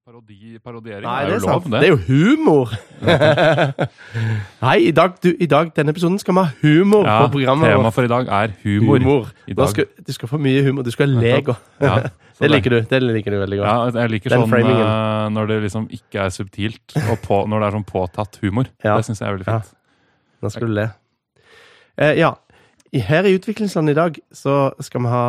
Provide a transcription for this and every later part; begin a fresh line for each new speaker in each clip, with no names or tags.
Parodi, parodiering
Nei, det
er
er
jo lov,
sant. Det er jo humor! Nei, i dag, du, i dag, denne episoden skal vi ha humor
ja,
på programmet.
Temaet
vårt.
for i dag er humor. i
Da
dag.
Skal, du skal få mye humor. Du skal le
Nettopp.
godt.
Ja, så
Det liker du det liker du veldig godt.
Ja, jeg liker
Den
sånn
framingen.
eh, når det liksom ikke er subtilt, og på, når det er sånn påtatt humor.
Ja.
Det syns jeg er veldig fint.
Nå skal du le. Eh, ja. I- Her i utviklingslandet i dag så skal vi ha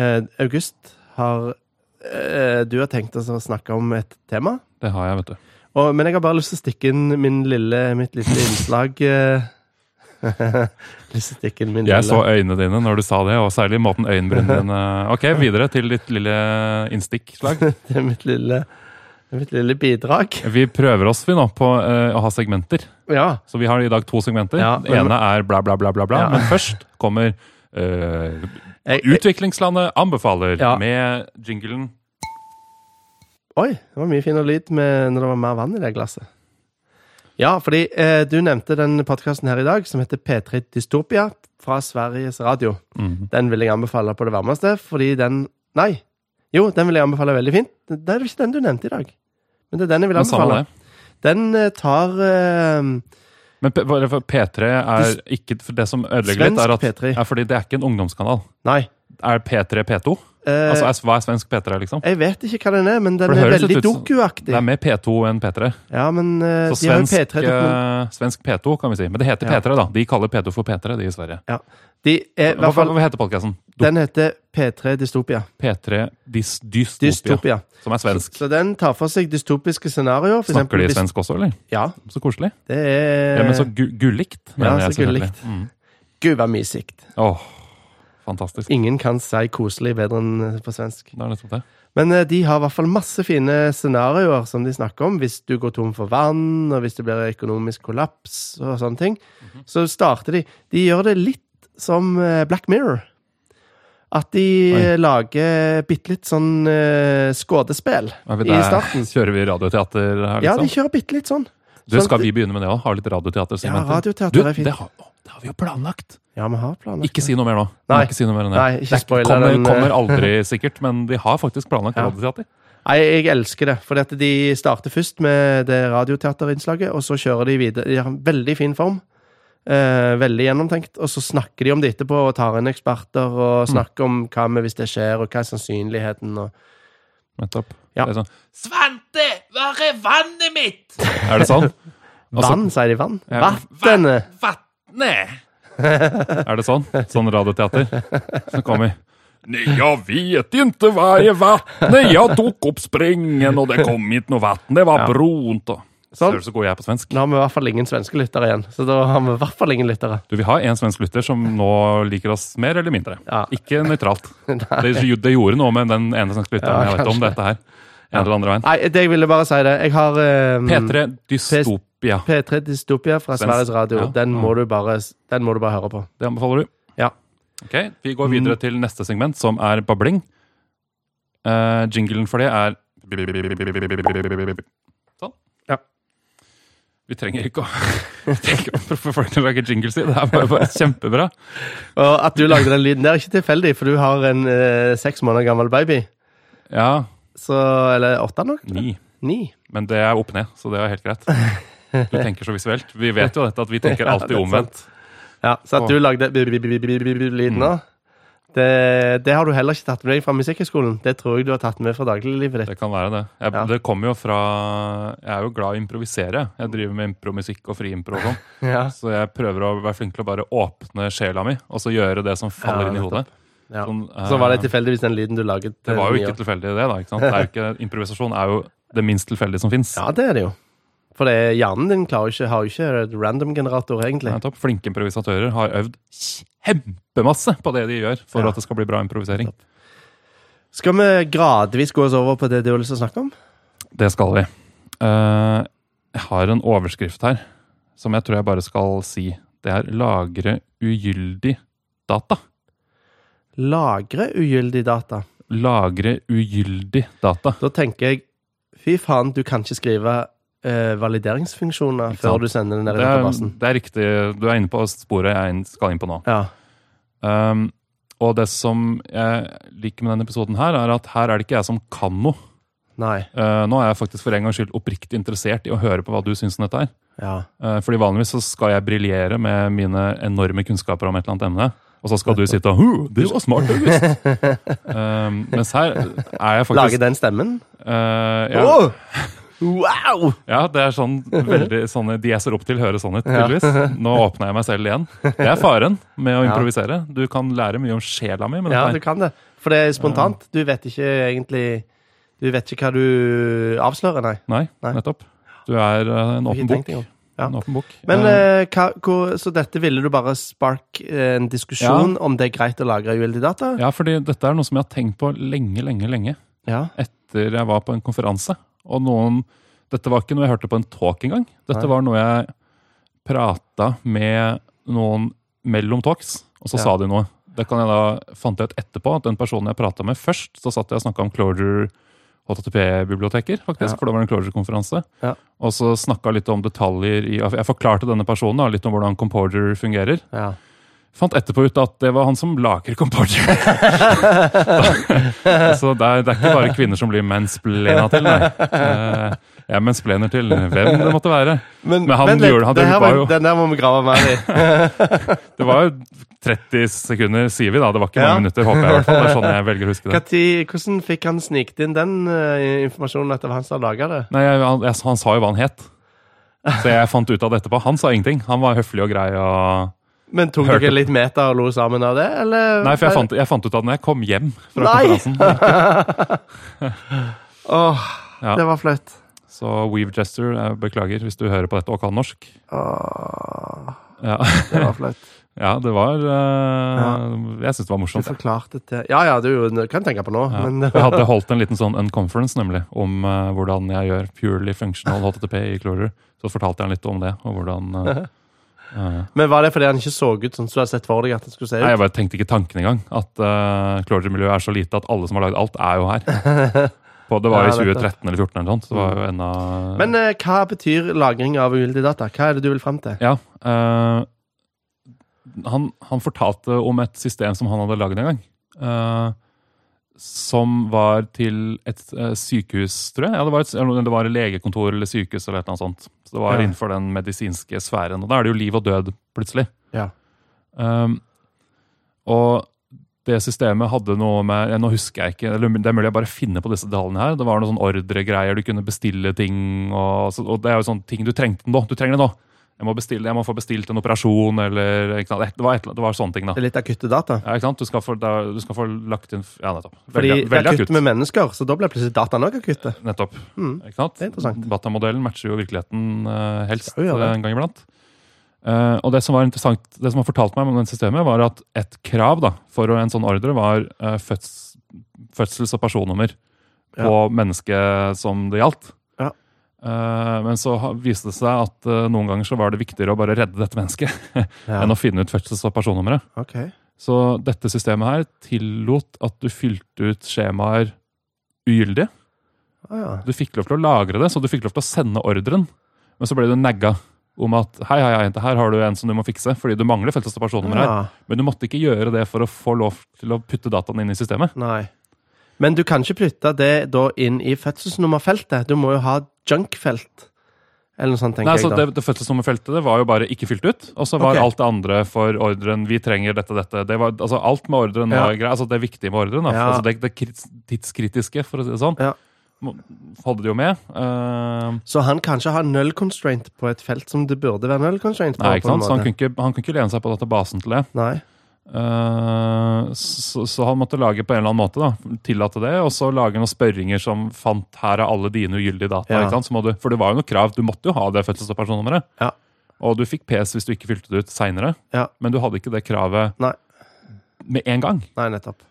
eh, August har eh, Du har tenkt oss å snakke om et tema.
Det har jeg, vet du.
Og, men jeg har bare lyst til å stikke inn min lille, mitt lille innslag eh, Lyst til å stikke inn min
Jeg så
lille
øynene dine når du sa det, og særlig måten øyenbrynene dine Ok, videre til ditt lille eh, innstikkslag.
Det er mitt lille, det er mitt lille bidrag.
Vi prøver oss vi nå på eh, å ha segmenter.
Ja.
Så vi har i dag to segmenter.
Ja,
det
men-
ene er bla, bla, bla, bla, bla.
Ja.
Men først kommer eh,
Jeg, jeg,
Utviklingslandet anbefaler
Ja.
med jinglen
oi, det var mye finere lyd med, når det var mer vann i det glasset. Ja, fordi eh, du nevnte den podkasten her i dag som heter P3 Dystopia fra Sveriges Radio.
Mhm.
Den vil jeg anbefale på det varmeste, fordi den Nei. Jo, den vil jeg anbefale veldig fint. Det er jo ikke den du nevnte i dag. Men det er den jeg vil
Men samme
anbefale.
det.
Den eh, tar eh,
Men P- bare for P3 er ikke for Det som ødelegger litt, er at
Svensk P3.
er fordi det er ikke en ungdomskanal.
Nei.
Er P3 P2?
Eh,
Altså, er, Hva er svensk P3, liksom?
jeg vet ikke hva den er, men den
For det
er
høres litt
veldig
ut som-
dokuaktig.
Det er mer P2 enn P3.
Ja, men eh,
Så
de har jo
svensk,
P3 dokument-
eh, svensk P2, kan vi si. Men det heter
Ja.
P3, da. De kaller P2 for P3, de i Sverige.
ja. De er i
Hva,
hvert Eh, fall
hva heter podkasten?
Den heter P3 Dystopia.
P3 dys, dystopia,
Dystopia.
som er svensk.
Så den tar for seg dystopiske scenarioer. For
Snakker
eksempel
de
hvis-
svensk også, eller?
Ja,
Så koselig.
det er
Ja, men så gu, gullikt.
Eh, Ja,
mener jeg
så
selvfølgelig.
gullikt.
Mm.
Gud, hva mye sikt.
Åh, fantastisk.
Ingen kan si koselig bedre enn eh, på svensk.
Det er nettopp det.
Men eh, de har i hvert fall masse fine scenarioer som de snakker om. Hvis du går tom for vann, og hvis det blir økonomisk kollaps og sånne ting.
Mhm.
Så starter de. De gjør det litt som eh, Black Mirror. At de
Oi.
eh, lager bitte litt sånn eh, skuespill
Er vi
i
der?
starten.
Kjører vi radioteater her,
Ja, de
liksom?
kjører bitte litt sånn.
du,
sånn
skal
at-
vi begynne med det òg? Ha litt
Ja,
radioteatersegmenter?
radioteater er
du,
fint.
det har, å, det har vi jo planlagt!
Ja, vi har planer.
Ikke si noe mer nå.
Nei.
Ikke si noe mer enn det.
Nei, ikke
det er-
spoiler
kommer,
den, eh.
kommer aldri, sikkert, men de har faktisk planlagt
Ja.
radioteater.
Nei, jeg elsker det. For dette, de starter først med det radioteaterinnslaget, og så kjører de videre. De har en veldig fin form. Eh, veldig gjennomtenkt. Og så snakker de om det etterpå, og tar inn eksperter, og
Mm.
snakker om hva med hvis det skjer, og hva er sannsynligheten, og
Nettopp.
Ja.
Det er, sånn,
Svante, hvor er vannet mitt?
er det sånn? Og så-
Vann, sier de. Vann.
Ja.
Vatnet!
Vatnet?
Er det sånn? Sånn radioteater? Så kommer vi.
Nei, jeg vet ikke hva er vatnet. Jeg tok opp springen, og det kom ikke noe vann. Det var brunt. og-
Sånn.
Ser du så god jeg er på svensk?
Nå har vi i hvert fall ingen svenske lyttere igjen. Så da har vi i hvert fall ingen lyttere.
Du, Vi har en svensk lytter som nå liker oss mer eller mindre.
Ja.
Ikke nøytralt. Det, det gjorde noe med den ene svenske lytteren. jeg vet ikke om dette her. En eller andre veien.
Nei, det jeg ville bare si det. Jeg har eh,
P3 Dystopia.
P3 Dystopia fra
Svensk.
Sveriges Radio.
Ja. Mm.
Den, må du bare, den må du bare høre på.
Det anbefaler du.
Ja. Mm.
Ok, Vi går videre til neste segment, som er babling. Eh, jinglen for det er Sånn.
Ja.
Vi trenger ikke å vi trenger ikke å få folk til å lage jingles i. Det er bare, bare kjempebra.
Og at du lagde den lyden der, er ikke tilfeldig, for du har en eh, seks måneder gammel baby.
Ja,
Så, eller åtte nok?
ni.
Ni.
Men det er opp ned, så det er helt greit. Du tenker så visuelt. Vi vet jo dette at vi tenker alltid
det er
omvendt. Mm.
Ja, så at du lagde lyden nå, det, det har du heller ikke tatt med deg fra Musikkhøgskolen. Det tror jeg du har tatt med fra dagliglivet ditt.
Det kan være det. Jeg,
Ja.
Det kommer jo fra Jeg er jo glad i å improvisere. Jeg driver med impromusikk og friimpro og sånn.
Ja.
Så jeg prøver å være flink til å bare åpne sjela mi, og så gjøre det som faller
Ja,
inn i hodet.
Ja.
Sånn, eh,
Så var det tilfeldigvis den lyden du laget.
Det var jo
eh,
ikke tilfeldig, det. da, ikke sant? Det er jo ikke, improvisasjon er jo det minst tilfeldige som fins.
Ja, det er det jo. For det, hjernen din klarer jo ikke, har jo ikke et random-generator, egentlig.
Nettopp. Flinke improvisatører har øvd kjempemasse på det de gjør for
Ja.
at det skal bli bra improvisering.
Skal vi gradvis gå oss over på det du har lyst til å snakke om?
Det skal vi. Eh, jeg har en overskrift her som jeg tror jeg bare skal si. Det er 'lagre ugyldig data'.
Lagre ugyldig data.
Lagre ugyldig data.
Da tenker jeg Fy faen, du kan ikke skrive eh, valideringsfunksjoner
Ikke sant.
før du sender den
Det
ned i
er,
databasen.
det er riktig. Du er inne på sporet jeg er inn- skal inn på nå.
Ja.
Um, og det som jeg liker med denne episoden her, er at her er det ikke jeg som kan noe.
Nei.
Eh, nå er jeg faktisk for en gangs skyld oppriktig interessert i å høre på hva du syns om dette. her.
Ja.
Eh, fordi vanligvis så skal jeg briljere med mine enorme kunnskaper om et eller annet emne. Og så skal du sitte og «Huh, Det var smart, August! Eh, mens her er jeg
Lage
faktisk
den stemmen?
eh, ja,
Åh! Wow!
ja, det er sånn veldig sånne De jeg ser opp til, høres sånn ut, tydeligvis. Nå åpna jeg meg selv igjen. Det er faren med å
Ja.
improvisere. Du kan lære mye om sjela mi med
Ja, du
dette. her.
kan det. For det er spontant. Du vet ikke egentlig Du vet ikke hva du avslører, nei.
Nei,
Nei.
nettopp. Du er eh, en
Har ikke
åpen bok.
tenkt engang. Ja.
En åpen bok.
Men
Eh,
eh, hva, hvor, Så dette ville du bare spark eh, en diskusjon om det er greit å lagre uheldige data?
Ja, fordi dette er noe som jeg har tenkt på lenge, lenge, lenge.
Ja.
Etter jeg var på en konferanse. Og noen Dette var ikke noe jeg hørte på en talk engang. Dette
Nei.
var noe jeg prata med noen mellom talks, og så
Ja.
sa de noe. Det kan jeg da fant jeg ut etterpå, at den personen jeg prata med først, så satt jeg og snakka om Closure HTTP-biblioteker, faktisk,
Ja.
for det var en Closure-konferanse.
Ja.
Og så snakka litt om detaljer i Jeg forklarte denne personen da, litt om hvordan Composer fungerer.
ja.
Fant etterpå ut at det var han som lager Composure. så det er, det er ikke bare kvinner som blir mansplena til, nei. Eh, Jeg mansplaner til hvem det måtte være.
Men,
Men han
vent litt,
gjorde- han
det her
var
var-
jo-
den der må vi grave mer i.
Det var jo 30 sekunder, sier vi da. Det var ikke
Ja.
mange minutter, håper jeg. i hvert fall. Det er sånn jeg velger å huske
Hva
det.
tid- hvordan fikk han snikt inn den eh, informasjonen at det var han som hadde laga det?
Nei, jeg, han, jeg, han sa jo hva han het. Så jeg fant ut av det etterpå. Han sa ingenting. Han var høflig og grei. og...
Men tok
Hørte-
dere litt meta og lo sammen av det, eller?
Nei, for jeg fant, jeg fant ut av det når jeg kom hjem fra
Nei!
konferansen.
Åh,
Ja.
det var flaut.
Så Weave Jester, jeg beklager hvis du hører på dette og kan norsk.
Åh,
Ja,
det var flaut.
ja det var eh, Jeg syns det var
Du
morsomt.
forklarte det Ja ja, du du kan tenke på nå,
Ja.
men eh,
Jeg hadde holdt en liten sånn unconference nemlig, om eh, hvordan jeg gjør purely functional HTTP i Clorder. Så fortalte jeg han litt om det. og hvordan... eh, eh,
Men var det fordi han ikke så ut sånn som du hadde sett for deg at han skulle se ut?
nei, Jeg bare tenkte ikke tanken engang. At uh, Clorder-miljøet er så lite at alle som har lagd alt, er jo her. På, det var
Ja,
i
nettopp.
2013 eller 2014 eller noe sånt. Så det var jo enda
Men eh, hva betyr lagring av ugyldige data? Hva er det du vil fram til?
Ja. eh, han, han fortalte om et system som han hadde lagd en gang. eh, som var til et eh, sykehus, tror jeg. Ja, det var, et, eller det var et legekontor eller sykehus. eller et eller annet sånt. Så det var
Ja.
innenfor den medisinske sfæren. Og da er det jo liv og død, plutselig.
Ja.
Um, og det systemet hadde noe med Nå husker jeg ikke, eller det er mulig jeg bare finner på disse detaljene her. Det var noen sånn ordregreier, du kunne bestille ting. Og, så- og det er jo sånne ting du trengte nå. Du trenger det nå. Jeg må, bestille, jeg må få bestilt en operasjon, eller ikke sant? Det, var et, det var sånne ting, da.
Det er litt akutte data.
Ja, ikke sant? Du skal få, da, du skal få lagt inn Ja, nettopp.
Fordi
Veldig,
det er
veldig
akutt
akutt.
med mennesker, så da blir plutselig dataene òg akutte.
Nettopp.
Mm.
Ikke sant?
Det er interessant.
Datamodellen matcher jo virkeligheten eh, helst
Skal jo gjøre det.
eh, en gang iblant. Eh, og det som var interessant, det som har fortalt meg om det systemet, var at et krav da, for en sånn ordre var eh, føds, fødsels- og personnummer på
Ja.
mennesket som det gjaldt.
Ja.
Eh, men så ha- viste det seg at eh, noen ganger så var det viktigere å bare redde dette mennesket
Ja.
enn å finne ut fødsels- og personnummeret.
Ok.
Så dette systemet her tillot at du fylte ut skjemaer ugyldige.
Ah, ja.
Du fikk lov til å lagre det, så du fikk lov til å sende ordren. Men så ble du nagga om at hei, hei, hei, her har du en som du må fikse, fordi du mangler felles personnummer her.
Ja,
Men du måtte ikke gjøre det for å få lov til å putte dataen inn i systemet.
nei. Men du kan ikke putte det da inn i fødselsnummerfeltet. Du må jo ha junkfelt. Eller noe sånt, tenker
Nei, så
jeg. da.
det, det fødselsnummerfeltet det var jo bare ikke fylt ut. Og så var
Ok.
alt det andre for ordren 'vi trenger dette, dette'. Det var, altså, alt med ordren var
Ja.
greit. Altså, det viktige med ordren. Da.
Ja.
Altså, det, det krits- tidskritiske, for å si det sånn,
Ja.
må- holdt det jo med. Eh,
Så han kan ikke ha null constraint på et felt som det burde være null constraint på.
Nei, ikke
på en
sant? Så han
måte.
kunne ikke, han kunne ikke lene seg på databasen til det.
Nei.
Eh, så, så han måtte lage på en eller annen måte, da, tillate det, og så lage noen spørringer som fant her er alle dine ugyldige data.
Ja.
Ikke sant? Så må du, for det var jo noe krav, du måtte jo ha det fødsels- og personnummeret.
Ja.
Og du fikk PS hvis du ikke fylte det ut seinere,
Ja.
men du hadde ikke det kravet
Nei.
med en gang.
Nei, nettopp.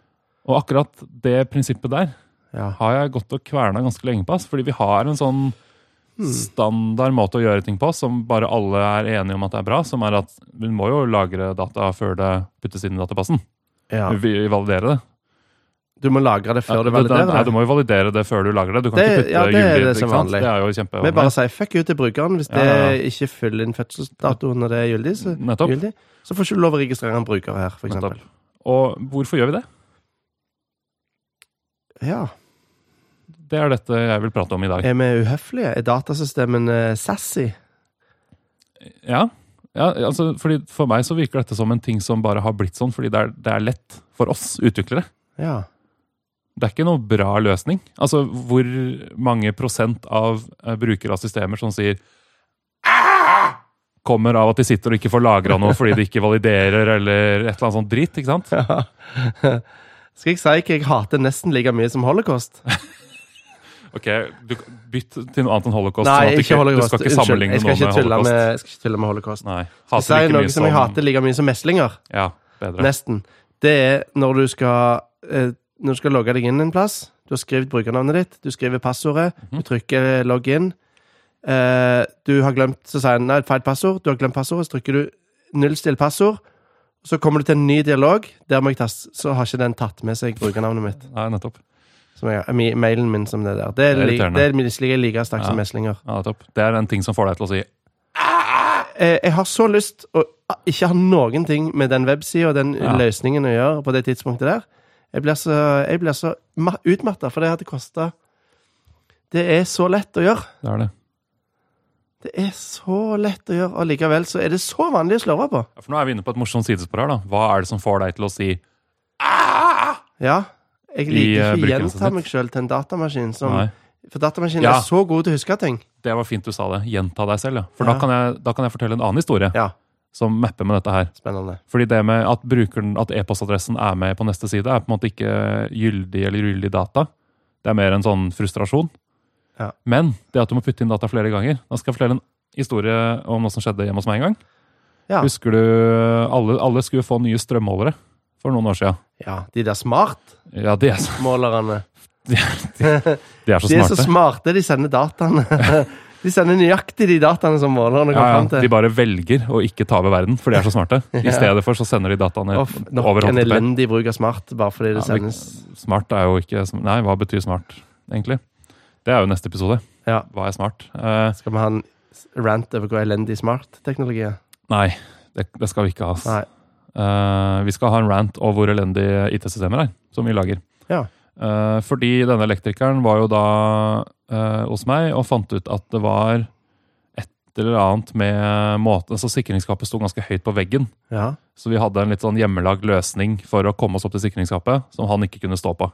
Og akkurat det prinsippet der
Ja.
har jeg gått og kverna ganske lenge på. ass, Fordi vi har en sånn
Hmm.
standard måte å gjøre ting på som bare alle er enige om at det er bra, som er at vi må jo lagre data før det puttes inn i databassen.
ja.
Vi validerer det.
Du må lagre det før du validerer
Nei,
det.
du må jo validere det før du lagrer det. Du kan
Det-
ikke putte
ja, det er
juli i
det
ikke
som
sant?
vanlig.
Det er jo
Vi
kjempevanlig.
bare sier fuck you til brukeren. Hvis det
Ja, ja, ja.
ikke fyller inn fødselsdatoen når det er gyldig, så,
Nettopp.
gyldig, så får ikke du lov å registrere en bruker her, for eksempel.
Nettopp. Og hvorfor gjør vi det?
Ja.
Det er dette jeg vil prate om i dag.
Er vi uhøflige? Er datasystemene sassy?
Ja, ja altså, fordi For meg så virker dette som en ting som bare har blitt sånn, fordi det er, det er lett for oss utviklere.
Ja.
Det er ikke noe bra løsning. Altså, Hvor mange prosent av eh, brukere av systemer som sier «Ah!» kommer av at de sitter og ikke får lagra noe fordi de ikke validerer, eller et eller annet sånt drit. ikke sant?
Skal jeg si hva jeg hater nesten like mye som holocaust?
Ok, du, Bytt til noe annet enn holocaust. sånn at
Nei,
du
ikke
Du
holocaust.
skal ikke
Unnskyld,
sammenligne
jeg skal ikke
noe med
tulle med,
holocaust.
jeg skal ikke tulle med holocaust.
Nei,
Jeg
hater
sier
like
noe
mye
som jeg hater like mye som meslinger,
Ja, bedre.
nesten. Det er når du skal, eh, når du skal logge deg inn en plass. Du har skrevet brukernavnet ditt, du skriver passordet,
Mhm.
du trykker eh, logg inn. Eh, du har glemt, så sier den nei, feil passord, du har glemt passordet, så trykker du nullstill passord. Så kommer du til en ny dialog, der må jeg tas- så har ikke den tatt med seg brukernavnet mitt.
Nei, nettopp.
Som jeg, mi- mailen min som det der. Det er,
Det er
li-
irriterende.
det er misliker jeg like sterkt som
Ja.
meslinger.
Ja, nettopp. Det er en ting som får deg til å si
eh, jeg har så lyst å ah, ikke ha noen ting med den websida og den
Ja.
løsningen å gjøre på det tidspunktet der. Jeg blir så, jeg blir så ma- utmatta, for det hadde kosta Det er så lett å gjøre.
Det er det.
Det er så lett å gjøre, og likevel så er det så vanlig å slurve på.
Ja, For nå er vi inne på et morsomt sidespor her. da. Hva er det som får deg til å si
Ja. Jeg
I, eh,
liker ikke å gjenta
brukerhuset
meg sjøl til en datamaskin som
Nei.
For datamaskinen
Ja.
er så god til å huske ting.
Det var fint du sa det. Gjenta deg selv, ja. For
Ja.
Da, kan jeg, da kan jeg fortelle en annen historie
Ja,
som mapper med dette her.
spennende.
Fordi det med at brukeren, at e-postadressen er med på neste side, er på en måte ikke gyldig eller ugyldig data. Det er mer en sånn frustrasjon.
Ja.
Men det at du må putte inn data flere ganger Da skal jeg fortelle en historie om noe som skjedde hjemme hos meg en gang.
Ja.
Husker du alle, alle skulle få nye strømmålere for noen år siden?
Ja, de der smartmålerne.
Ja, de er så, de er, de, de er så
De er
smarte.
så smarte, de sender dataene. De sender nøyaktig de dataene som målerne
Ja,
kommer
ja,
fram til.
de bare velger å ikke ta over verden, for de er så smarte. I stedet for så sender de dataene
Off, nok
over
en
HTTP.
elendig bruk av smart, bare fordi det
Ja, men-
sendes
Smart er jo ikke sm- Nei, hva betyr smart, egentlig? Det er jo neste episode.
Ja.
Hva er smart? Eh,
Skal vi ha en s- rant over hvor elendig smart-teknologi er?
nei, det, det skal vi ikke ha. ass.
Nei.
Eh, vi skal ha en rant over hvor elendige IT-systemer er, som vi lager.
Ja.
Eh, fordi denne elektrikeren var jo da eh, hos meg og fant ut at det var et eller annet med måten Så sikringsskapet sto ganske høyt på veggen.
Ja.
Så vi hadde en litt sånn hjemmelagd løsning for å komme oss opp til sikringsskapet, som han ikke kunne stå på.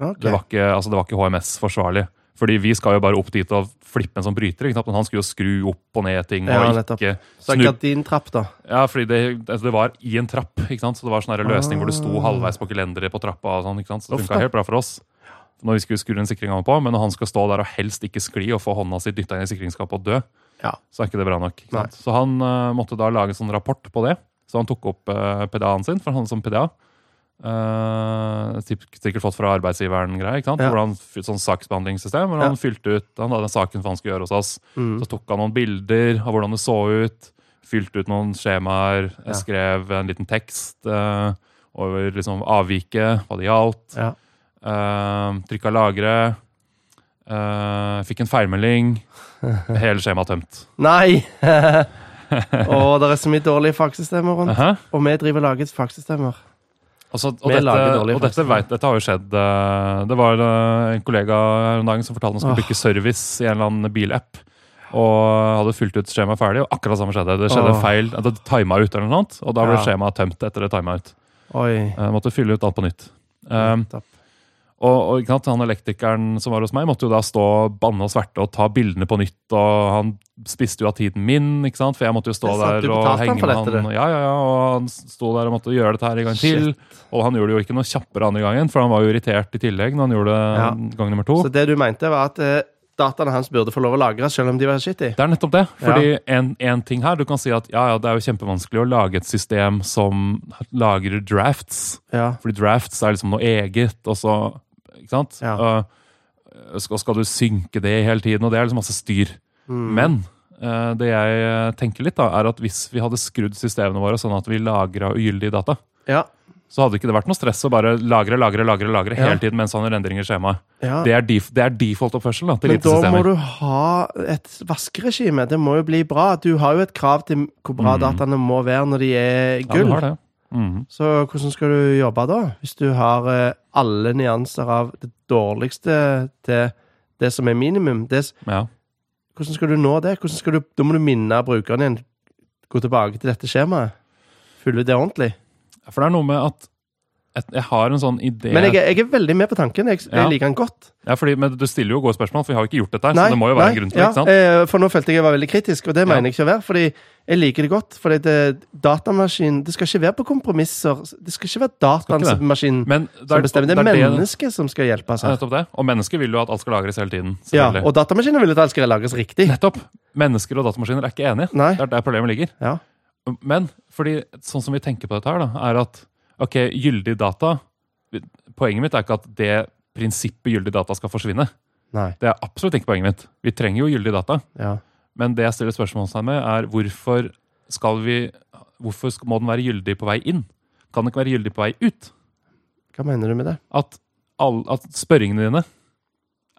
Ok.
Det var ikke, altså det var ikke HMS-forsvarlig. Fordi vi skal jo bare opp dit og flippe en sånn bryter. ikke sant? Men han skulle jo skru opp og ned ting.
Ja,
og
nettopp.
ikke
Så en
snu.
gardintrapp, da.
Ja, fordi det, altså det var i en trapp, ikke sant? så det var sånn her løsning hvor du sto
Ah.
halvveis på gelenderet på trappa. og sånn, ikke sant? Så det
Uff da.
funka helt bra for oss. Når vi skulle skru en sikring av på, Men når han skal stå der og helst ikke skli og få hånda si dytta inn i sikringsskapet og dø,
Ja.
så er ikke det bra nok. Ikke sant? Så han eh, måtte da lage en sånn rapport på det. Så han tok opp eh, PDA-en sin, for han hadde sånn PDA. eh, typ- sikkert fått fra arbeidsgiveren greier, ikke sant?
Ja.
Hvor han, fyl- sånn saksbehandlingssystem, hvor
Ja.
han fylte ut, han hadde den saken for han skulle gjøre hos oss.
Mm.
Så tok han noen bilder av hvordan det så ut, fylte ut noen skjemaer,
Ja.
skrev en liten tekst eh, over liksom avviket, hva det gjaldt,
Ja.
uh, trykka lagre, eh, fikk en feilmelding, hele skjemaet tømt.
Nei! Å, det er så mye dårlige fagsystemer rundt.
Hæ?
Og vi driver og lager fagsystemer.
Altså, og,
Vi
dette,
lager dårlige
og dette,
fagsystemer.
vet, dette har jo skjedd. eh, Det var eh, en kollega her om dagen som fortalte han skulle
Åh.
bruke service i en eller annen bilapp. Og hadde fylt ut skjemaet ferdig, og akkurat det samme skjedde. Det skjedde
Åh.
en feil. Det tima ut, eller noe annet, og da ble
Ja.
skjemaet tømt etter det tima ut.
Oi.
Eh, måtte fylle ut alt på nytt. Um,
Nettopp.
og, og ikke sant, han elektrikeren som var hos meg, måtte jo da stå og banne og sverte og ta bildene på nytt. Og han spiste jo av tiden min, ikke sant? for jeg måtte jo stå
Det er
der
sant, du
og
betalte
henge
han for
med
dette,
han. Ja, ja, ja, og han sto der og måtte gjøre dette her en gang til. Og han gjorde det jo ikke noe kjappere andre gangen, for han var jo irritert i tillegg når han gjorde det
Ja.
gang nummer to.
Så det du mente, var at eh, dataene hans burde få lov å lagres, selv om de var shitty?
Det er nettopp det. Fordi en, en ting her, Du kan si at ja, ja, det er jo kjempevanskelig å lage et system som lagrer drafts.
Ja.
Fordi drafts er liksom noe eget, og så Ikke sant?
Ja.
Eh, skal, skal du synke det hele tiden? Og det er liksom masse styr.
Mm.
Men eh, det jeg eh, tenker litt, da, er at hvis vi hadde skrudd systemene våre sånn at vi lagra ugyldige data,
Ja.
så hadde ikke det vært noe stress å bare lagre, lagre, lagre lagre
Ja.
hele tiden mens han rendringer i skjemaet.
ja.
Det er, def, det er default oppførsel da, til
Men da må
IT-systemer.
du ha et vaskeregime. Det må jo bli bra. Du har jo et krav til hvor bra dataene må være når de
Mm.
er
Ja, du
gull.
har det. Mhm.
Så hvordan skal du jobbe da, hvis du har eh, alle nyanser av det dårligste til det som er minimum. Det, s-
Ja.
hvordan skal du nå det? Hvordan skal du, da må du minne brukeren igjen. Gå tilbake til dette skjemaet. Fylle ut det ordentlig.
For det er noe med at et- jeg har en sånn idé
Men jeg, er- jeg er veldig med på tanken. Jeg,
Ja.
jeg liker den godt.
ja, fordi, men Du stiller jo gode spørsmål, for vi har jo ikke gjort dette. her, så Altså, det må jo være en grunn til
ja,
det, ikke sant?
eh, For nå følte jeg jeg var veldig kritisk, og det
Ja.
mener jeg ikke å være. Fordi jeg liker det godt. Fordi det, datamaskin, det skal ikke være på kompromisser. Det skal ikke være
det.
datamaskinen
Men det
som bestemmer. Det er
det-
mennesket som skal hjelpe.
Ja,
Altså.
nettopp det. Og mennesker vil jo at alt skal lagres hele tiden.
Ja,
selvfølgelig.
og datamaskiner vil at alt skal lages riktig.
nettopp! Mennesker og datamaskiner er ikke enige.
Nei.
Det er der problemet ligger.
Ja.
Men fordi sånn som vi tenker på dette her, da, er at ok, gyldig data Poenget mitt er ikke at det prinsippet gyldig data skal forsvinne.
Nei.
Det er absolutt ikke poenget mitt. Vi trenger jo gyldig data.
Ja.
Men det jeg stiller spørsmålstegn ved, er hvorfor skal vi Hvorfor skal- må den være gyldig på vei inn? Kan den ikke være gyldig på vei ut?
Hva mener du med det?
At, all, at spørringene dine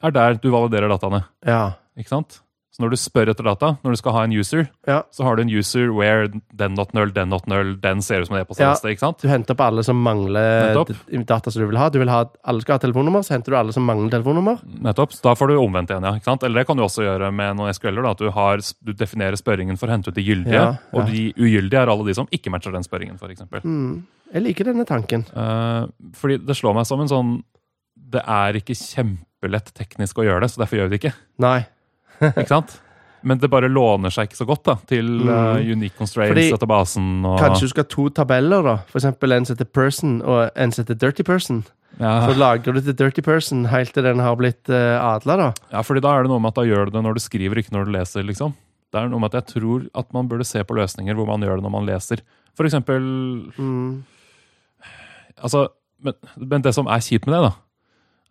er der du validerer dataene.
Ja.
Ikke sant? Så når du spør etter data, når du skal ha en user,
Ja.
så har du en user where den not null, den not null, den ser ut som en e-post.
Ja.
ikke sant?
Du henter opp alle som mangler
Nettopp.
d- data som du vil ha. Du vil ha alle skal ha telefonnummer, så henter du alle som mangler telefonnummer.
Nettopp. Så da får du omvendt igjen, ja. Ikke sant? Eller det kan du også gjøre med noen SQL-er. da, At du, har, du definerer spørringen for å hente ut de gyldige,
Ja, ja.
og de ugyldige er alle de som ikke matcher den spørringen, f.eks.
Hmm. Jeg liker denne tanken.
Eh, fordi det slår meg som en sånn Det er ikke kjempelett teknisk å gjøre det, så derfor gjør vi det ikke.
Nei.
ikke sant? Men det bare låner seg ikke så godt da, til eh, unique
Mm. Fordi-
constraints-databasen. og...
Kanskje du skal ha to tabeller, da. For eksempel en som heter person, og en som heter dirty person. Så
ja.
lager du til dirty person helt til den har blitt uh, adla, da.
ja, fordi da er det noe med at da gjør du det når du skriver, ikke når du leser. liksom. Det er noe med at jeg tror at man burde se på løsninger hvor man gjør det når man leser. For eksempel
Mm.
altså, men, men det som er kjipt med det, da,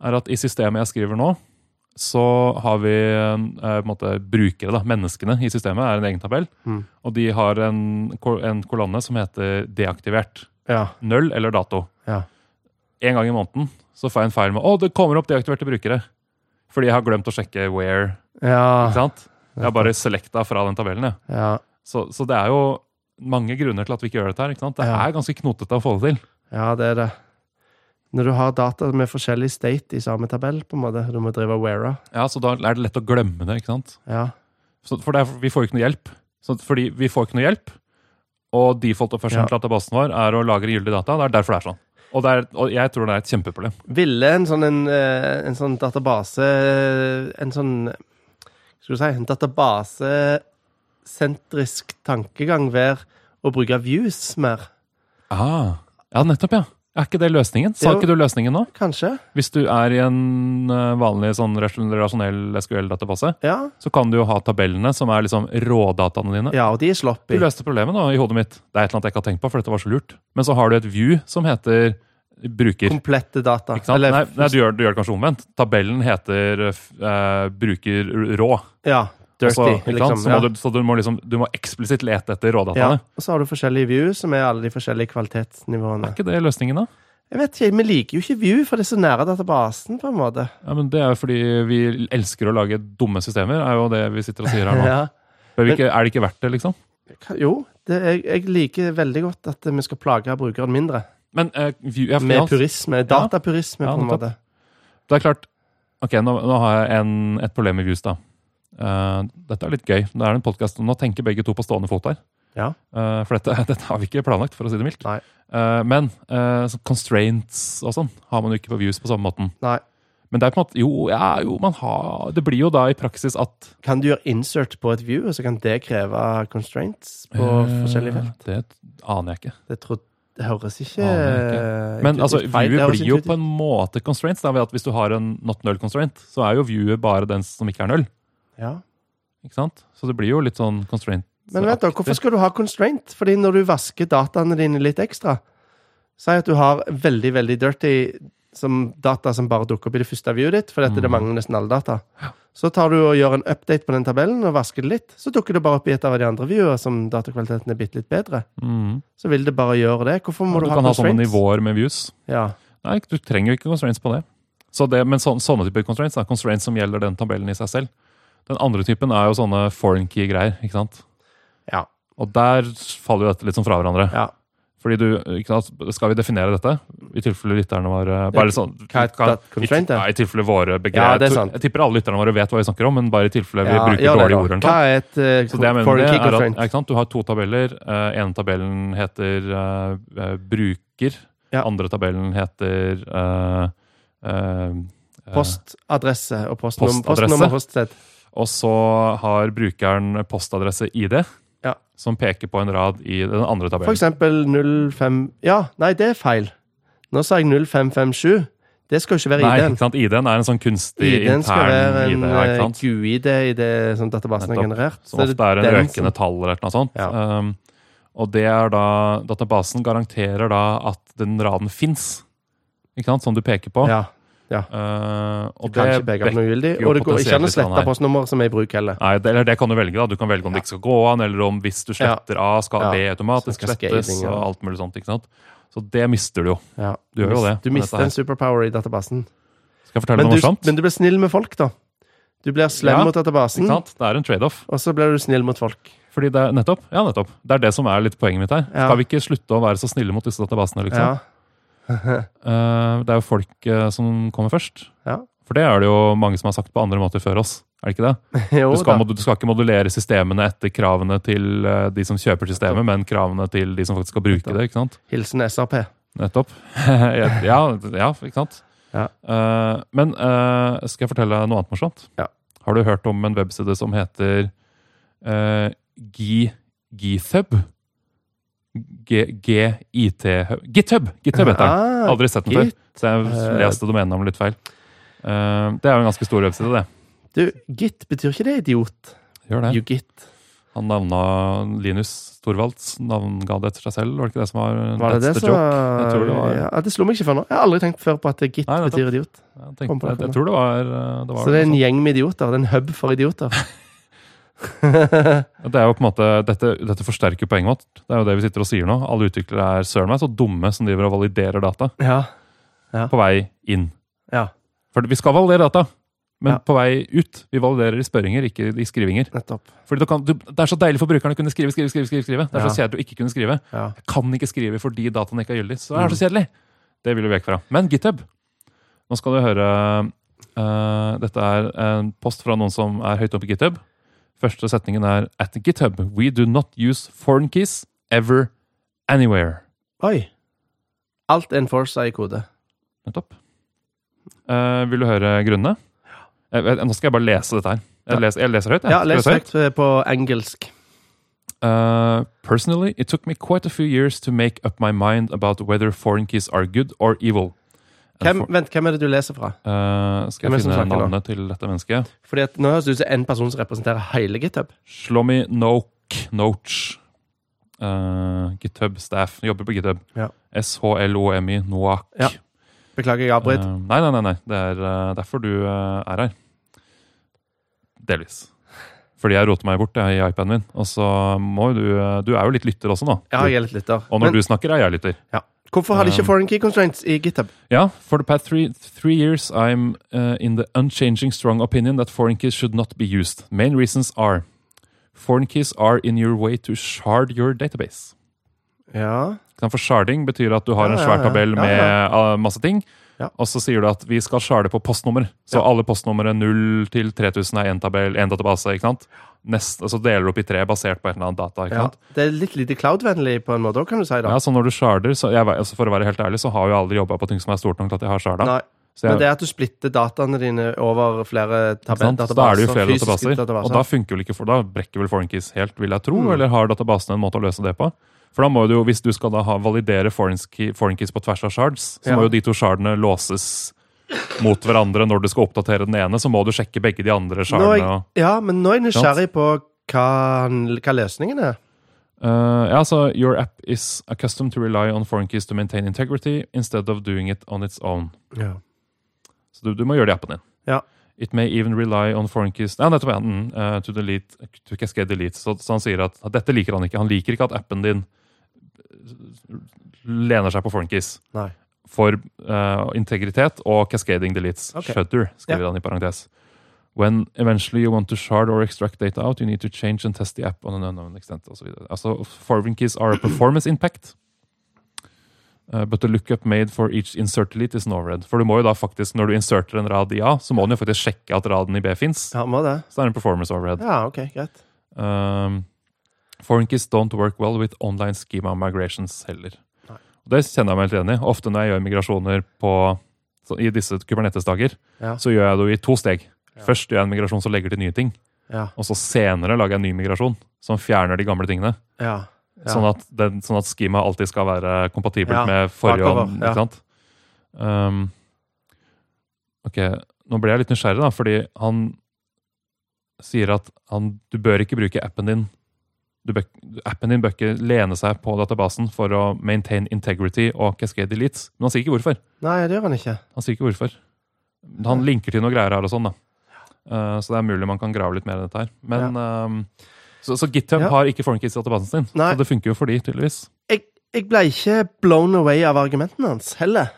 er at i systemet jeg skriver nå, så har vi eh, på en måte, brukere, da, menneskene i systemet, er en egen tabell.
Mm.
Og de har en, ko- en kolonne som heter 'deaktivert'.
Ja.
Null eller dato.
Ja.
En gang i måneden så får jeg en feil med 'Å, det kommer opp deaktiverte brukere'. Fordi jeg har glemt å sjekke where. ikke
Ah. Ja.
sant? Jeg har bare selecta fra den tabellen. jeg.
ja.
Så, så det er jo mange grunner til at vi ikke gjør dette her. ikke sant? Det
Ja.
er ganske knotete å få det til.
Ja, det er det. Når du har data med forskjellig state i samme tabell, på en måte, du må drive weara.
Ja, Så da er det lett å glemme det. ikke sant?
Ja.
Så, for det er, vi får jo ikke noe hjelp. Så, fordi vi får ikke noe hjelp, og default-operasjonen
Ja.
til databasen vår er å lagre gyldig data. Det er derfor det er sånn. Og, det er, og jeg tror det er et kjempeproblem.
Ville en sånn, en, eh, en sånn database En sånn Hva skal du si En databasesentrisk tankegang være å bruke views mer?
Ah, ja, nettopp, ja. Er ikke det løsningen? Sa
Jo.
ikke du løsningen nå?
Kanskje?
Hvis du er i en eh, vanlig sånn rasjon- rasjonell SQL-database,
Ja.
så kan du jo ha tabellene som er liksom rådataene dine.
ja og de er
Du
sloppy.
løste problemet nå i hodet mitt. Det er et eller annet jeg ikke har tenkt på, for dette var så lurt. Men så har du et view som heter bruker.
Komplette data.
Ikke sant?
Eller-
nei, nei du, gjør, du gjør det kanskje omvendt. Tabellen heter eh, f- eh, bruker rå.
Ja, dirty,
Altså, ikke sant?
liksom.
så
ja.
må du, så du må, liksom, du må eksplisitt lete etter
ja.
rådataene.
Og så har du forskjellige views, som er alle de forskjellige kvalitetsnivåene.
Er ikke det løsningen, da?
Jeg vet ikke, Vi liker jo ikke view, for det er så nære databasen, på en måte.
Ja, men det er jo fordi vi elsker å lage dumme systemer, er jo det vi sitter og sier her nå.
Ja.
Bør vi ikke, er det ikke verdt det, liksom?
Ka- Jo, det, jeg, jeg liker veldig godt at vi skal plage brukeren mindre.
Men eh, view, ja,
Med
finans,
purisme. Datapurisme,
Ja,
på en
nettopp.
måte.
det er klart Ok, nå, nå har jeg en, et problem med views, da. Eh, dette er litt gøy. Nå er det en podcast, Nå tenker begge to på stående fot her.
Ja.
Eh, for dette, dette har vi ikke planlagt, for å si det mildt.
Nei.
Eh, men eh, så constraints og sånn har man jo ikke på views på samme måten.
Nei.
Men det er på en måte, jo, ja, jo, man har, det blir jo da i praksis at
Kan du gjøre insert på et view, og så kan det kreve constraints på
Eh,
forskjellige felt?
Det aner jeg ikke.
Det, tror, det høres ikke
Aner Men altså, viewet blir jo på en måte constraints. Da, ved at Hvis du har en not null constraint, så er jo viewet bare den som ikke er null.
ja.
Ikke sant? Så det blir jo litt sånn constraint.
Men vent da, hvorfor skal du ha constraint? Fordi når du vasker dataene dine litt ekstra Si at du har veldig, veldig dirty som data som bare dukker opp i det første viewet ditt, fordi
Mm.
at det mangler nesten alle data. Så tar du og gjør en update på den tabellen og vasker det litt. Så dukker det bare opp i et av de andre viewene som datakvaliteten er bitte litt bedre.
Mhm.
Så vil det bare gjøre det. Hvorfor må
Du
du,
kan ha
ha
sånne
constraints?
nivåer med views.
Ja.
Nei, du trenger jo ikke constraints på det. Så det men sånne, sånne typer constraints da, constraints som gjelder den tabellen i seg selv. Den andre typen er jo sånne foreign key-greier. ikke sant?
Ja.
Og der faller jo dette litt sånn fra hverandre.
ja.
Fordi du, ikke sant, Skal vi definere dette, i tilfelle lytterne våre bare sånn,
hva er
kan-
that constraint,
i,
ja?
nei, i tilfelle våre begrep.
Ja, det er sant.
Jeg tipper alle lytterne våre vet hva vi snakker om, men bare i tilfelle vi bruker
gjør det
dårlige
da.
ord. eller noe
Hva
sånt.
er et eh,
Så det jeg mener
foreign
det
key
er at,
constraint?
ikke sant, Du har to tabeller. Eh, ene tabellen heter eh, eh, bruker.
Ja.
Andre tabellen heter eh, eh, eh,
Postadresse og
Postadresse.
postnummer. postnummer poststed.
Og så har brukeren postadresse ID,
Ja.
som peker på en rad i den andre
For
tabellen.
eksempel 05 Ja, nei, det er feil. Nå sa jeg 0557. Det skal jo ikke være
Nei,
ID-en.
ikke sant? ID-en er en sånn kunstig
ID-en skal
intern
være en eh,
ID. ja, ikke sant?
GUID i det som databasen har
Nettopp.
generert.
Som
det
ofte er en
den
røkende tall eller noe sånt.
Ja.
Um, og det er da Databasen garanterer da at den raden fins, ikke sant, som du peker på.
Som, ja,
Uh, og
kan ikke
det
peke opp noe ugyldig.
jo
Og det går ikke
potensielt
an å
litt sånn her.
slette postnummer som er i bruk heller.
Nei, det, eller det kan du velge. da. Du kan velge om det ikke skal gå an, eller om hvis du sletter A, skal
Ja.
B automatisk
Sånn
slettes.
cascading, ja.
og alt mulig sånt, ikke sant? Så det mister du jo.
Ja.
Du gjør jo det,
Du
med dette
mister
her.
en superpower i databasen.
Skal jeg fortelle
Men
deg noe
du,
morsomt?
men du blir snill med folk, da. Du blir slem
Ja,
mot databasen,
Ikke sant? Det er en trade-off.
og så blir du snill mot folk.
Fordi det er nettopp, ja, nettopp. Det er det som er litt poenget mitt her.
Ja.
Skal vi ikke slutte å være så snille mot disse databasene? liksom?
Ja.
Eh, det er jo folk eh, som kommer først.
Ja.
For det er det jo mange som har sagt på andre måter før oss. er det ikke det?
Jo,
Du skal,
da.
mod- du skal ikke modulere systemene etter kravene til eh, de som kjøper systemet, men kravene til de som faktisk skal bruke det. ikke sant?
Hilsen SRP.
Nettopp. ja, ja, ikke sant?
Ja.
Eh, men eh, skal jeg fortelle noe annet morsomt?
Ja.
Har du hørt om en webside som heter uh, GitHub? G- G-IT-hub GitHub! GitHub heter den.
Ah,
Aldri sett den før, så jeg leste domenenavnet litt feil. Eh, det er jo en ganske stor webside, det.
Du, git betyr ikke det, idiot.
Gjør det.
You git.
Han navna Linus Torvalds, navnga det etter seg selv. Var det ikke det som var
Var det
that's
det
the
som
joke?
var
Jeg tror det var-
ja, Det slo meg ikke før nå. Jeg har aldri tenkt før på at git
Nei, nettopp.
betyr idiot.
Jeg,
Kom
tenkte, jeg,
på det for meg.
jeg tror det var, eh, det var
Så det
noe
er en
sånt.
gjeng med idioter. Det er en hub for idioter.
Det er jo på en måte, dette, dette forsterker poenget vårt. Det er jo det vi sitter og sier nå. Alle utviklere er søren meg så dumme som driver og validerer data
ja.
på vei inn.
ja,
For vi skal validere data, men
Ja.
på vei ut. Vi validerer i spørringer, ikke i skrivinger.
nettopp.
Fordi du kan, du, Det er så deilig for brukerne å kunne skrive, skrive, skrive. skrive, skrive. Det er
Ja.
så kjedelig å ikke kunne skrive.
Ja.
Jeg kan ikke skrive fordi dataen ikke er gyldig. Så det er så
Mm.
kjedelig. Det vil vi vekk fra. Men GitHub. Nå skal du høre eh, Dette er en post fra noen som er høyt oppe i GitHub. Første setningen er At GitHub, we do not use foreign keys ever anywhere.
Oi. Alt enforcer i kode.
Nettopp. Eh, vil du høre grunnene? Jeg vet- Nå skal jeg bare lese dette her. Jeg leser, jeg leser høyt. jeg.
Ja,
Skal jeg
les
lese høyt?
høyt på engelsk.
Uh, personally, it took me quite a few years to make up my mind about whether foreign keys are good or evil. And
Hvem,
for-
vent, hvem er det du leser fra?
uh, skal
Hvem
jeg
er det som
finne
snakker nå?
navnet til dette mennesket?
Fordi at Nå høres det ut som en person som representerer hele GitHub.
Shlomi Nok Noch. Uh, GitHub staff. Jobber på GitHub.
Ja.
SHLOMI Noak.
Ja, Beklager, jeg avbryter.
Uh, nei, nei, nei. nei. Det er uh, derfor du uh, er her. Delvis. Fordi jeg roter meg bort jeg, i iPaden min. Og så må jo du uh, Du er jo litt lytter også, nå.
Ja, jeg er litt lytter.
Og når
Men
du snakker, er jeg lytter.
hvorfor har de ikke
Um,
foreign key constraints i GitHub?
Yeah, for the past three, three years, I'm uh, in the unchanging strong opinion that foreign keys should not be used. Main reasons are foreign keys are in your way to shard your database.
Ja,
Ikke sant? For sharding betyr at du har
Ja,
en
ja,
svær
ja.
tabell
Ja,
med uh, masse ting,
Ja.
og så sier du at vi skal sharde på postnummer. Så alle postnumre 0 til 3000 er én tabell, én database. ikke sant? Nest, så deler du opp i tre basert på et eller annet data. ikke
ja.
sant?
Det er litt lite cloud-vennlig på en måte òg, kan du si. da.
Ja, så når du sharder, så jeg, altså For å være helt ærlig, så har jo jeg aldri jobba på ting som er stort nok til at jeg har sharda.
Nei,
Så jeg-
Men det er at du splitter dataene dine over flere
Ikke sant?
tabelldatabasser.
Så Da er det jo flere databaser,
fysiske
Mm. og da
databaser.
funker vel ikke for, da brekker vel foreign keys helt, vil jeg tro, eller har databasene en måte å løse det på? For da må du jo, Hvis du skal da ha, validere foreign, key, foreign keys på tvers av shards, så
Ja.
må jo de to shardene låses mot hverandre når du skal oppdatere den ene. Så må du sjekke begge de andre
Nå er
shardene.
jeg,
og-
ja, men nå er jeg nysgjerrig på hva, hva løsningen er.
Eh, ja, så Your app is accustomed to rely on foreign keys to maintain integrity instead of doing it on its own.
Ja.
Så du, du må gjøre det i appen din.
Ja.
It may even rely on foreign keys Nei, nettopp, ja. Mm, eh, to delete, to cascade delete. Så, så han sier at dette liker han ikke. Han liker ikke at appen din lener seg på foreign keys
Nei.
for eh, integritet og cascading deletes.
Ok.
Shudder, skriver han i parentes. When eventually you want to shard or extract data out, you need to change and test the app on an unknown extent. og så videre. Altså, foreign keys are a performance impact. eh, But the lookup made for each insert delete is no red. For du må jo da faktisk, når du inserter en rad i A, så må den jo faktisk sjekke at raden i B fins.
Ja, må det.
Så det er en performance overhead.
Ja, OK, greit.
Um, foreign keys don't work well with online schema migrations heller.
Nei.
Og det kjenner jeg meg helt enig i. Ofte når jeg gjør migrasjoner på, så, i disse Kubernetes-dager,
Ja.
så gjør jeg det jo i to steg.
Ja.
Først gjør jeg en migrasjon som legger til nye ting,
Ja.
og så senere lager jeg en ny migrasjon som fjerner de gamle tingene.
ja. Ja.
Sånn, at den, sånn at schema alltid skal være kompatibelt
Ja,
med forrige.
bakover,
og- Ikke
ja.
sant? Um, ok, nå ble jeg litt nysgjerrig, da, fordi han sier at han, du bør ikke bruke appen din. Du bør, appen din bør ikke lene seg på databasen for å maintain integrity og cascade deletes. Men han sier ikke hvorfor.
Nei, det gjør han ikke.
Han sier ikke hvorfor. Men Han linker til noen greier her og sånn, da. Uh, så det er mulig man kan grave litt mer i dette her. Men um, så, så GitHub
Ja.
har ikke foreign keys i databasen sin.
Nei.
Så det funker jo for de, tydeligvis.
Jeg, jeg ble ikke blown away av argumentene hans heller.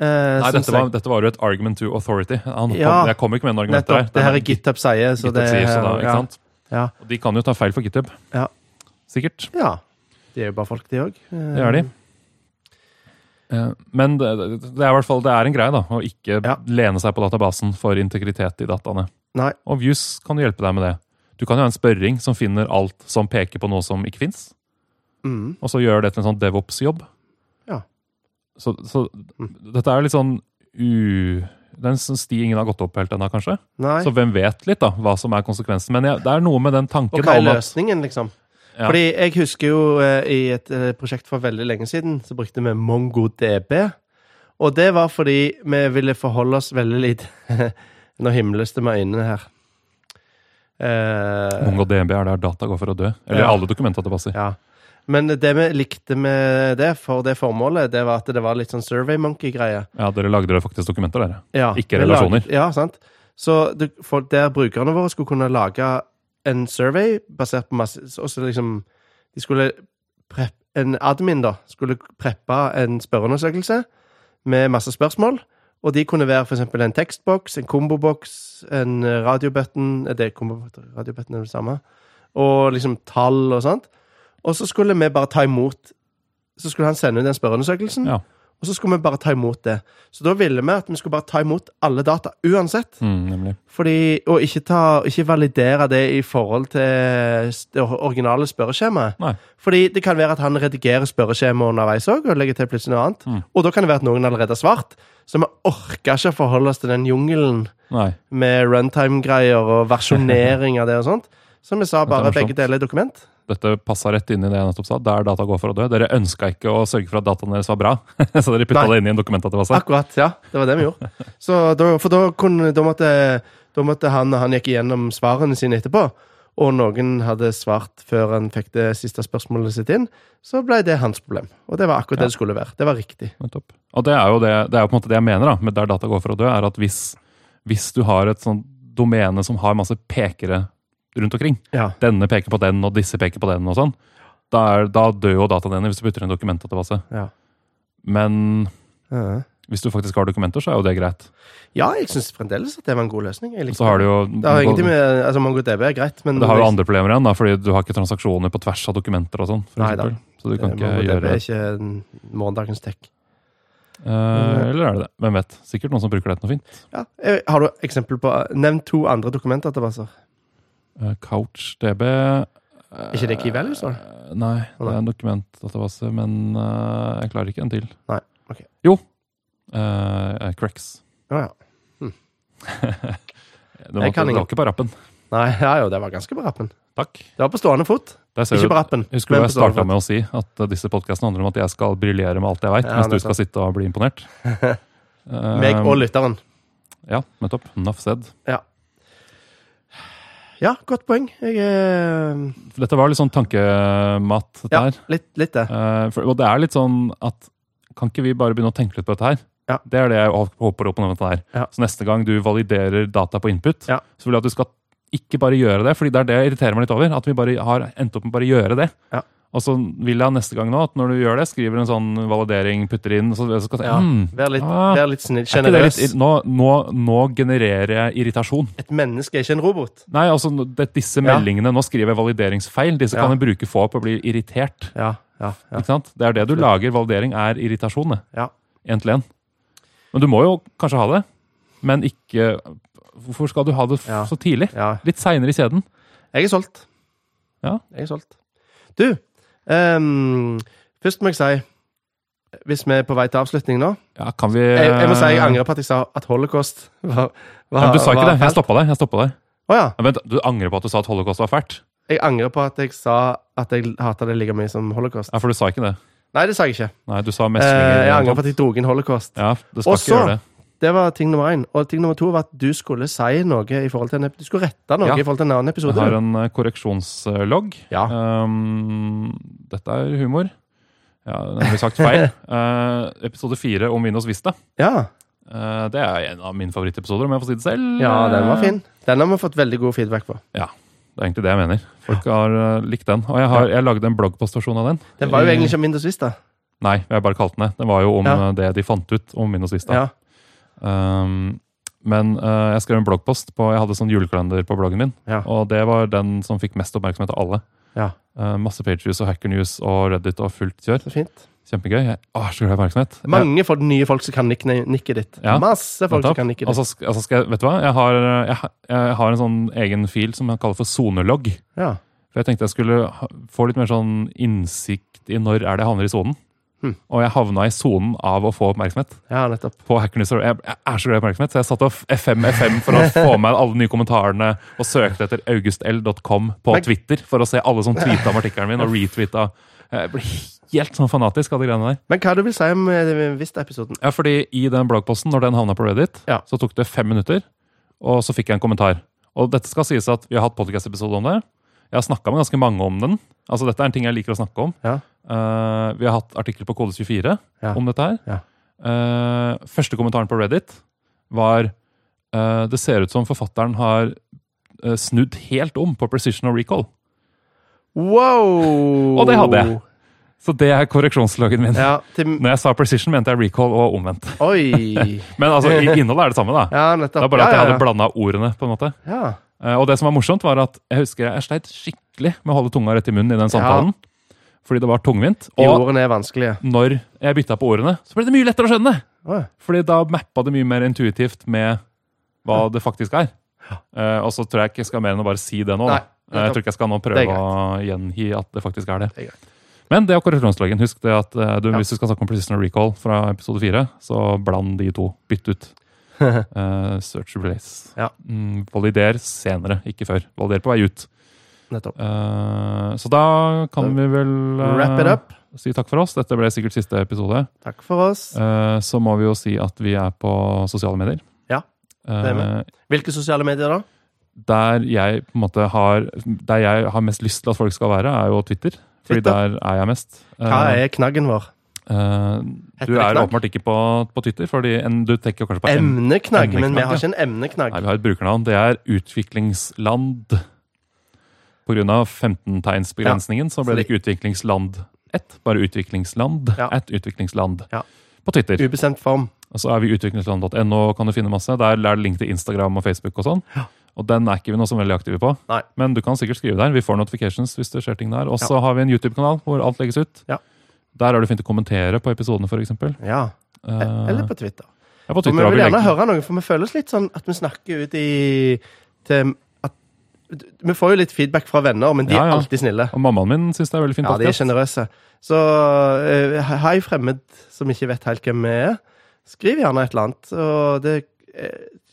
Eh,
Nei,
syns
dette var,
jeg.
dette var jo et argument to authority. Han kom,
Ja.
jeg kom ikke med noen argumenter der.
Nettopp. Det her er
er
GitHub sier, så
GitHub
det
sier, så da, ikke
ja.
sant?
Ja.
Og de kan jo ta feil for GitHub.
Ja.
Sikkert.
ja. De er jo bare folk, de òg.
Det gjør de. Eh, Men det, det er i hvert fall det er en greie, da. Å ikke
Ja.
lene seg på databasen for integritet i dataene.
Nei.
Og Views kan jo hjelpe deg med det. Du kan jo ha en spørring som finner alt som peker på noe som ikke fins,
Mm.
og så gjør det til en sånn devops-jobb.
Ja. Mm.
Så, så dette er litt sånn u... Det er en sånn sti ingen har gått opp helt ennå, kanskje.
Nei.
Så hvem vet litt da, hva som er konsekvensen. Men jeg, det er noe med den tanken
Og hva er
om at
løsningen, liksom?
Ja.
Fordi jeg husker jo eh, i et eh, prosjekt for veldig lenge siden, så brukte vi MongoDB. Og det var fordi vi ville forholde oss veldig lite Nå himles det med øynene her. Eh,
MongoDB er der data går for å dø. Eller
Ja.
alle dokumenter det passer.
Ja. Men det vi likte med det, for det formålet, det var at det var litt sånn SurveyMonkey-greie.
Ja, dere lagde dere faktisk dokumenter, dere.
Ja,
Ikke
vi
relasjoner.
Laget, ja, sant. Så du, for der brukerne våre skulle kunne lage en survey basert på masse Og så liksom De skulle prep, En admin, da, skulle preppe en spørreundersøkelse med masse spørsmål. Og de kunne være f.eks. en tekstboks, en komboboks, en eh, radiobutton Er det kombo, Radiobutton er det samme. Og liksom tall og sånt. Og så skulle vi bare ta imot Så skulle han sende ut den spørreundersøkelsen.
Ja.
Og så skulle vi bare ta imot det. Så da ville vi at vi skulle bare ta imot alle data uansett.
Mm, nemlig.
Fordi, Og ikke, ta, ikke validere det i forhold til s- det originale spørreskjemaet.
Nei.
Fordi det kan være at han redigerer spørreskjemaet underveis òg. Og legger til plutselig noe annet.
Mm.
Og da kan det være at noen allerede har svart. Så vi orker ikke å forholde oss til den jungelen
Nei.
med runtime-greier og versjonering av det og sånt. Så vi sa
Dette er
bare
morsomt.
begge deler er dokument.
Dette passa rett inn i det jeg nettopp sa. Der data går for å dø. Dere ønska ikke å sørge for at dataene deres var bra, så dere putta
Nei.
det inn i en dokumentdatabase.
Akkurat, ja. Det var det vi gjorde. Så da, for da, kunne, da, måtte, da måtte han han gikk igjennom svarene sine etterpå. Og noen hadde svart før han fikk det siste spørsmålet sitt inn. Så ble det hans problem. Og det var akkurat det det skulle være. Det var riktig.
Nettopp. Og det er jo det, det er jo på en måte det jeg mener da, med der data går for å dø, er at hvis, hvis du har et sånt domene som har masse pekere rundt omkring,
Ja.
denne peker på den, og disse peker på den, og sånn, da, er, da dør jo dataene dine hvis du putter inn en dokumentdatabase.
Ja,
Men
Ja.
hvis du faktisk har dokumenter, så er jo det greit.
ja jeg syns fremdeles at det var en god løsning.
Og
Jeg likte
så har du jo
det har ingenting med altså, MongoDB er greit, men
det har jo andre problemer igjen, da, fordi du har ikke transaksjoner på tvers av dokumenter og sånn. for
Nei da.
eksempel. Så du kan ikke
MongoDB
gjøre
er
det.
ikke en- morgendagens tech.
Eh, eller er det det? Hvem vet? Sikkert noen som bruker det til noe fint.
Ja. eh, Har du eksempel på Nevn to andre dokumentdatabaser.
Eh, CouchDB Er
ikke det Key Values, da?
eh, Nei, det
Å, nei.
er en dokumentdatabase, men eh, jeg klarer ikke en til.
Nei, ok.
Jo. Uh, Crex.
Å ja.
Det var,
kan
det var
ingen.
ikke på rappen.
Nei, ja jo, det var ganske på rappen.
Takk.
Det var på stående fot.
Der ser
Ikke
du-
på rappen.
Husker du
men på
hva jeg
stående
starta
fot.
med å si? At eh, disse podkastene handler om at jeg skal briljere med alt jeg veit,
Ja,
mens du
nettopp.
skal sitte og bli imponert. Eh,
Meg og lytteren.
Ja, nettopp. Nuff said.
Ja, godt poeng. Jeg er
Dette var litt sånn tankemat, dette
Ja,
her.
litt, litt det.
Eh, for, og det er litt sånn at kan ikke vi bare begynne å tenke litt på dette her?
Ja.
Det er det jeg hå- håper å oppnå med dette her.
Ja.
Så neste gang du validerer data på input,
Ja.
så vil jeg at du skal ikke bare gjøre det, fordi det er det jeg irriterer meg litt over, at vi bare har endt opp med bare å gjøre det.
Ja.
Og så vil jeg neste gang nå, at når du gjør det, skriver en sånn validering, putter inn, så så skal jeg si,
Ja,
«Hmm,
Vær litt,
ah,
vær litt snill.
er ikke det
Sjenerøs.
litt ir- nå, nå, nå genererer jeg irritasjon.
Et menneske er ikke en robot.
Nei, altså, det, disse
Ja.
meldingene, nå skriver jeg valideringsfeil, disse
Ja.
kan jeg bruke få på å bli irritert.
Ja, Ja, ja,
Ikke sant? Det er det du lager validering, er irritasjon. det.
ja.
En til en. Men du må jo kanskje ha det, men ikke Hvorfor skal du ha det f
Ja.
så tidlig?
ja.
Litt seinere i kjeden.
Jeg er solgt.
Ja.
Jeg er solgt. Du, ehm, først må jeg si Hvis vi er på vei til avslutning nå
Ja, kan vi
Jeg, jeg må si jeg angrer på at jeg sa at holocaust var, var
Eh. Ja, men du sa ikke
var
det. Jeg
fælt.
stoppa deg. Jeg stoppet deg.
Å ja.
Ja, vent, du angrer på at du sa at holocaust var fælt?
Jeg angrer på at jeg sa at jeg hata det like mye som holocaust.
Ja, For du sa ikke det.
Nei, det sa jeg ikke.
Nei, du sa
Eh,
meslinger.
jeg angrer på at jeg dro inn holocaust.
Ja, du skal
Og så-
ikke gjøre det.
Det var ting nummer én. Og ting nummer to var at du skulle si noe i forhold til en ep- Du skulle rette noe
Ja.
i forhold til en annen
Jeg
episode.
har
du.
en eh, korreksjonslogg.
Ja.
Ehm, dette er humor. Ja, den har vi sagt feil. Eh, episode fire om Windows Vista.
ja.
Eh, det er en av mine favorittepisoder, om jeg får si det selv.
ja, den var fin. Den har vi fått veldig god feedback på.
Det er egentlig det jeg mener. Folk har eh, likt den. Og jeg, har, jeg lagde en bloggpostasjon av den.
Den var jo egentlig ikke Windows Vista.
Nei, jeg bare kalte den det. Den var jo om
Ja.
eh, det de fant ut om Windows Vista.
Ja.
Ehm, men eh, jeg skrev en bloggpost på Jeg hadde sånn julekalender på bloggen min.
Ja.
Og det var den som fikk mest oppmerksomhet av alle.
Ja.
Eh, masse pagerviews og Hacker News og Reddit og fullt kjør.
Så fint.
Kjempegøy. Jeg er så glad i oppmerksomhet. Jeg-
Mange folk, nye folk som kan nikke- nikket ditt.
Ja.
Masse folk som
Nettopp.
kan nikke
Og så
ditt.
sk- altså skal, jeg- vet du hva? Jeg har, eh, jeg, ha- jeg har en sånn egen fil som jeg kaller for sonelogg.
Ja.
For jeg tenkte jeg skulle ha- få litt mer sånn innsikt i når er det jeg havner i sonen.
Hmm.
Og jeg havna i sonen av å få oppmerksomhet.
ja, nettopp.
på Hacker News. og Jeg, jeg er så glad i oppmerksomhet, så jeg satt og f- FM FM for å få med alle de nye kommentarene og søkte etter augustl.com på
Men-
Twitter for å se alle som tweeta om artikkelen min og retweeta. Jeg ble helt sånn fanatisk av de greiene der.
Men hva du vil si om eh, Vista-episoden?
Ja, fordi i den bloggposten, når den havna på Reddit,
Ja.
så tok det fem minutter, og så fikk jeg en kommentar. Og dette skal sies at vi har hatt podcast-episode om det. Jeg har snakka med ganske mange om den. Altså, dette er en ting jeg liker å snakke om.
Ja.
Eh, vi har hatt artikkel på Kode 24
Ja.
om dette her.
Ja.
Eh, første kommentaren på Reddit var eh, Det ser ut som forfatteren har eh, snudd helt om på precision og recall.
Wow!
Og det hadde jeg. Så det er korreksjonsloggen min.
Ja, til,
Når jeg sa precision, mente jeg recall og omvendt.
oi!
Men altså, i- innholdet er det samme, da.
Ja,
Det
nettopp.
er bare at
ja,
jeg
ja,
hadde blanda ordene. på en måte.
ja. ja.
Eh, Og det som var morsomt, var at jeg husker jeg sleit skikkelig med å holde tunga rett i munnen i den samtalen. Fordi det var tungvint.
De
Og
ordene er vanskelige.
når jeg bytta på ordene, så ble det mye lettere å skjønne.
Å,
Fordi da mappa det mye mer intuitivt med hva det faktisk er. Eh, og så tror jeg ikke jeg skal mer enn å bare si det nå. da.
Nei,
Eh, jeg tror ikke jeg skal nå
Det er
prøve å gjengi at det faktisk er det.
Det er
Men det er korreksjonsloggen. Husk det at eh, du,
Ja.
hvis du skal snakke om Precision Recall fra episode 4, så bland de to. Bytt ut. Eh, search Relays.
Ja.
Mm, valider senere, ikke før. Valider på vei ut.
nettopp.
Eh, så da kan vi vel eh,
Wrap it up.
si takk for oss. Dette ble sikkert siste episode.
Takk for oss.
Eh, så må vi jo si at vi er på sosiale medier.
Ja, det er vi.
Eh,
Hvilke sosiale medier, da?
Der jeg på en måte har Der jeg har mest lyst til at folk skal være, er jo Twitter. Fordi
Twitter.
der er jeg mest.
Hva
Eh,
er knaggen vår?
eh,
Heter
du
det
er
knagg?
åpenbart ikke på, på Twitter, fordi en, du tenker kanskje på M.
Emneknagg. Men vi
emneknagg,
har ikke en emneknagg.
Nei, vi har et brukernavn. Det er utviklingsland. På grunn av 15-tegnsbegrensningen så
så
ble det
det-
ikke utviklingsland 1, bare utviklingsland.
Ja.
At utviklingsland.
Ja.
På Twitter.
Ubestemt form.
Og så er vi utviklingsland.no, kan du finne masse. Der er det link til Instagram og Facebook og sånn. Og den er ikke vi noe som veldig aktive på.
Nei.
Men du kan sikkert skrive der. Vi får notifications hvis det skjer ting der. Og så har vi en YouTube-kanal hvor alt legges ut.
Ja.
Der er det fint å kommentere på episodene, f.eks.
Ja. Eh, E- Eller på Twitter.
Ja, på
For
Twitter
vi
har
vil
vi
gjerne
lenken.
høre noe, for vi føler oss litt sånn at vi snakker ut i til, at, Vi får jo litt feedback fra venner, men de
Ja,
er
ja.
alltid snille.
Og mammaen min syns det er veldig fint.
Ja, de er
podcast.
sjenerøse. Så eh, hei, fremmed som ikke vet helt hvem vi er. Skriv gjerne et eller annet. Og det eh,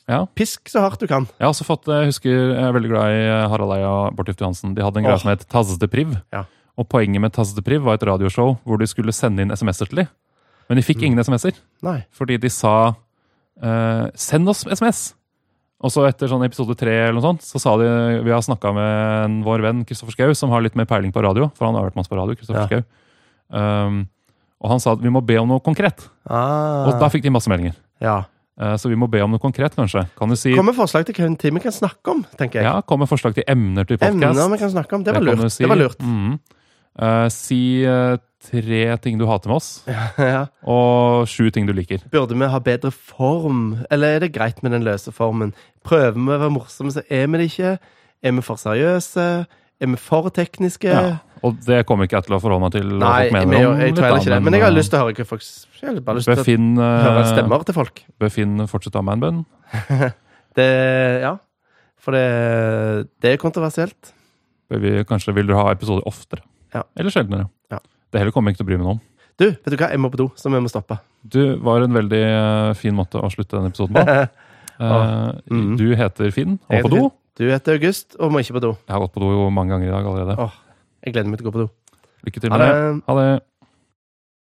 Ja.
Pisk så hardt du kan.
Jeg har også fått, jeg husker, jeg er veldig glad i eh, Harald Eia og Bård Tufte Johansen. De hadde en greie
Åh.
som het Tazz de Priv.
Ja.
Og poenget med Tazz de Priv var et radioshow hvor de skulle sende inn SMS-er til dem. Men de fikk
Mm.
ingen SMS-er.
Nei.
fordi de sa eh, Send oss SMS! Og så etter sånn episode tre eller noe sånt, så sa de Vi har snakka med en, vår venn Kristoffer Schau, som har litt mer peiling på radio. For han har hørt masse på radio, Kristoffer
Ja.
Schau. Um, og han sa at vi må be om noe konkret.
Ah,
Og da fikk de masse meldinger.
ja.
Eh, så vi må be om noe konkret, kanskje. Kan du si
Kom med forslag til hva en time kan snakke om, tenker jeg.
Ja, kom med forslag til emner til podcast.
Emner vi kan snakke om. Det var
kan
lurt.
du si.
Det var lurt.
Mhm. Eh, si eh, tre ting du hater med oss,
Ja.
og sju ting du liker.
Burde vi ha bedre form, eller er det greit med den løse formen? Prøver vi å være morsomme, så er vi det ikke. Er vi for seriøse? Er vi for tekniske?
Ja. Og det kommer ikke jeg til å forholde meg til. hva
Nei,
folk mener
men jeg,
om
jeg
litt,
tror heller
da,
ikke det. Men jeg har lyst til å høre hva folk s- Jeg har bare lyst til å
Befinn,
høre
eh,
stemmer til folk.
befinn fortsette med en bønn.
Det, ja. For det, det er kontroversielt.
Vi- Kanskje vil dere ha episoder oftere.
Ja.
Eller sjeldnere.
Ja.
Det heller kommer jeg ikke til å bry meg noe om.
Du, vet du hva? Jeg må på do, så vi må stoppe.
Du var en veldig eh, fin måte å slutte denne episoden på. Eh,
Mhm.
Du heter Finn, og
Jeg
på
heter
do.
Du heter August og må ikke på do.
Jeg har gått på do jo mange ganger i dag allerede.
Åh, jeg gleder meg til å gå på do.
Lykke til
Ha
med det.
det.
Ha det.